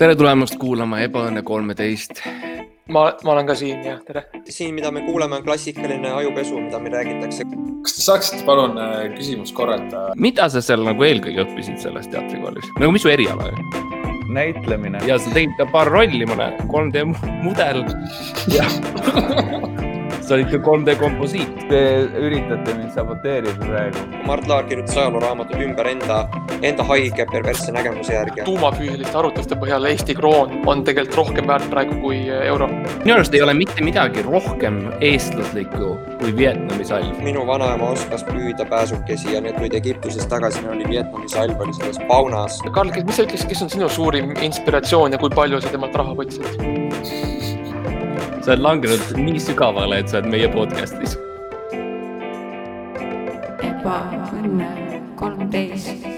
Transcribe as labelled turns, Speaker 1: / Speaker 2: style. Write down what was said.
Speaker 1: tere tulemast kuulama Ebaõnne kolmeteist .
Speaker 2: ma , ma olen ka siin ja tere .
Speaker 3: siin , mida me kuuleme , on klassikaline ajupesu , mida meil räägitakse .
Speaker 4: kas te saaksite palun äh, küsimust korrata ?
Speaker 1: mida sa seal nagu eelkõige õppisid selles teatrikoolis , nagu mis su eriala oli ?
Speaker 5: näitlemine .
Speaker 1: ja sa tegid ka paar rolli , mõne 3D mu- mudel . jah . sa olid ka 3D komposiit .
Speaker 5: Te üritate mind saboteerida praegu .
Speaker 3: Mart Laar kirjutas ajalooraamatut ümber enda , enda haige perversse nägemuse järgi .
Speaker 2: tuumafüüsiliste arutluste põhjal Eesti kroon on tegelikult rohkem väärt praegu kui euro .
Speaker 1: minu arust ei ole mitte midagi rohkem eestlaslikku kui Vietnami salv .
Speaker 3: minu vanaema oskas püüda pääsukesi ja need tulid Egiptusest tagasi , neil oli Vietnami salv oli selles paunas .
Speaker 2: Karl , mis sa ütleks , kes on sinu suurim inspiratsioon ja kui palju sa temalt raha võtsid ?
Speaker 1: sa oled langenud nii sügavale , et sa oled meie podcast'is .
Speaker 6: ebaõnne kolmteist .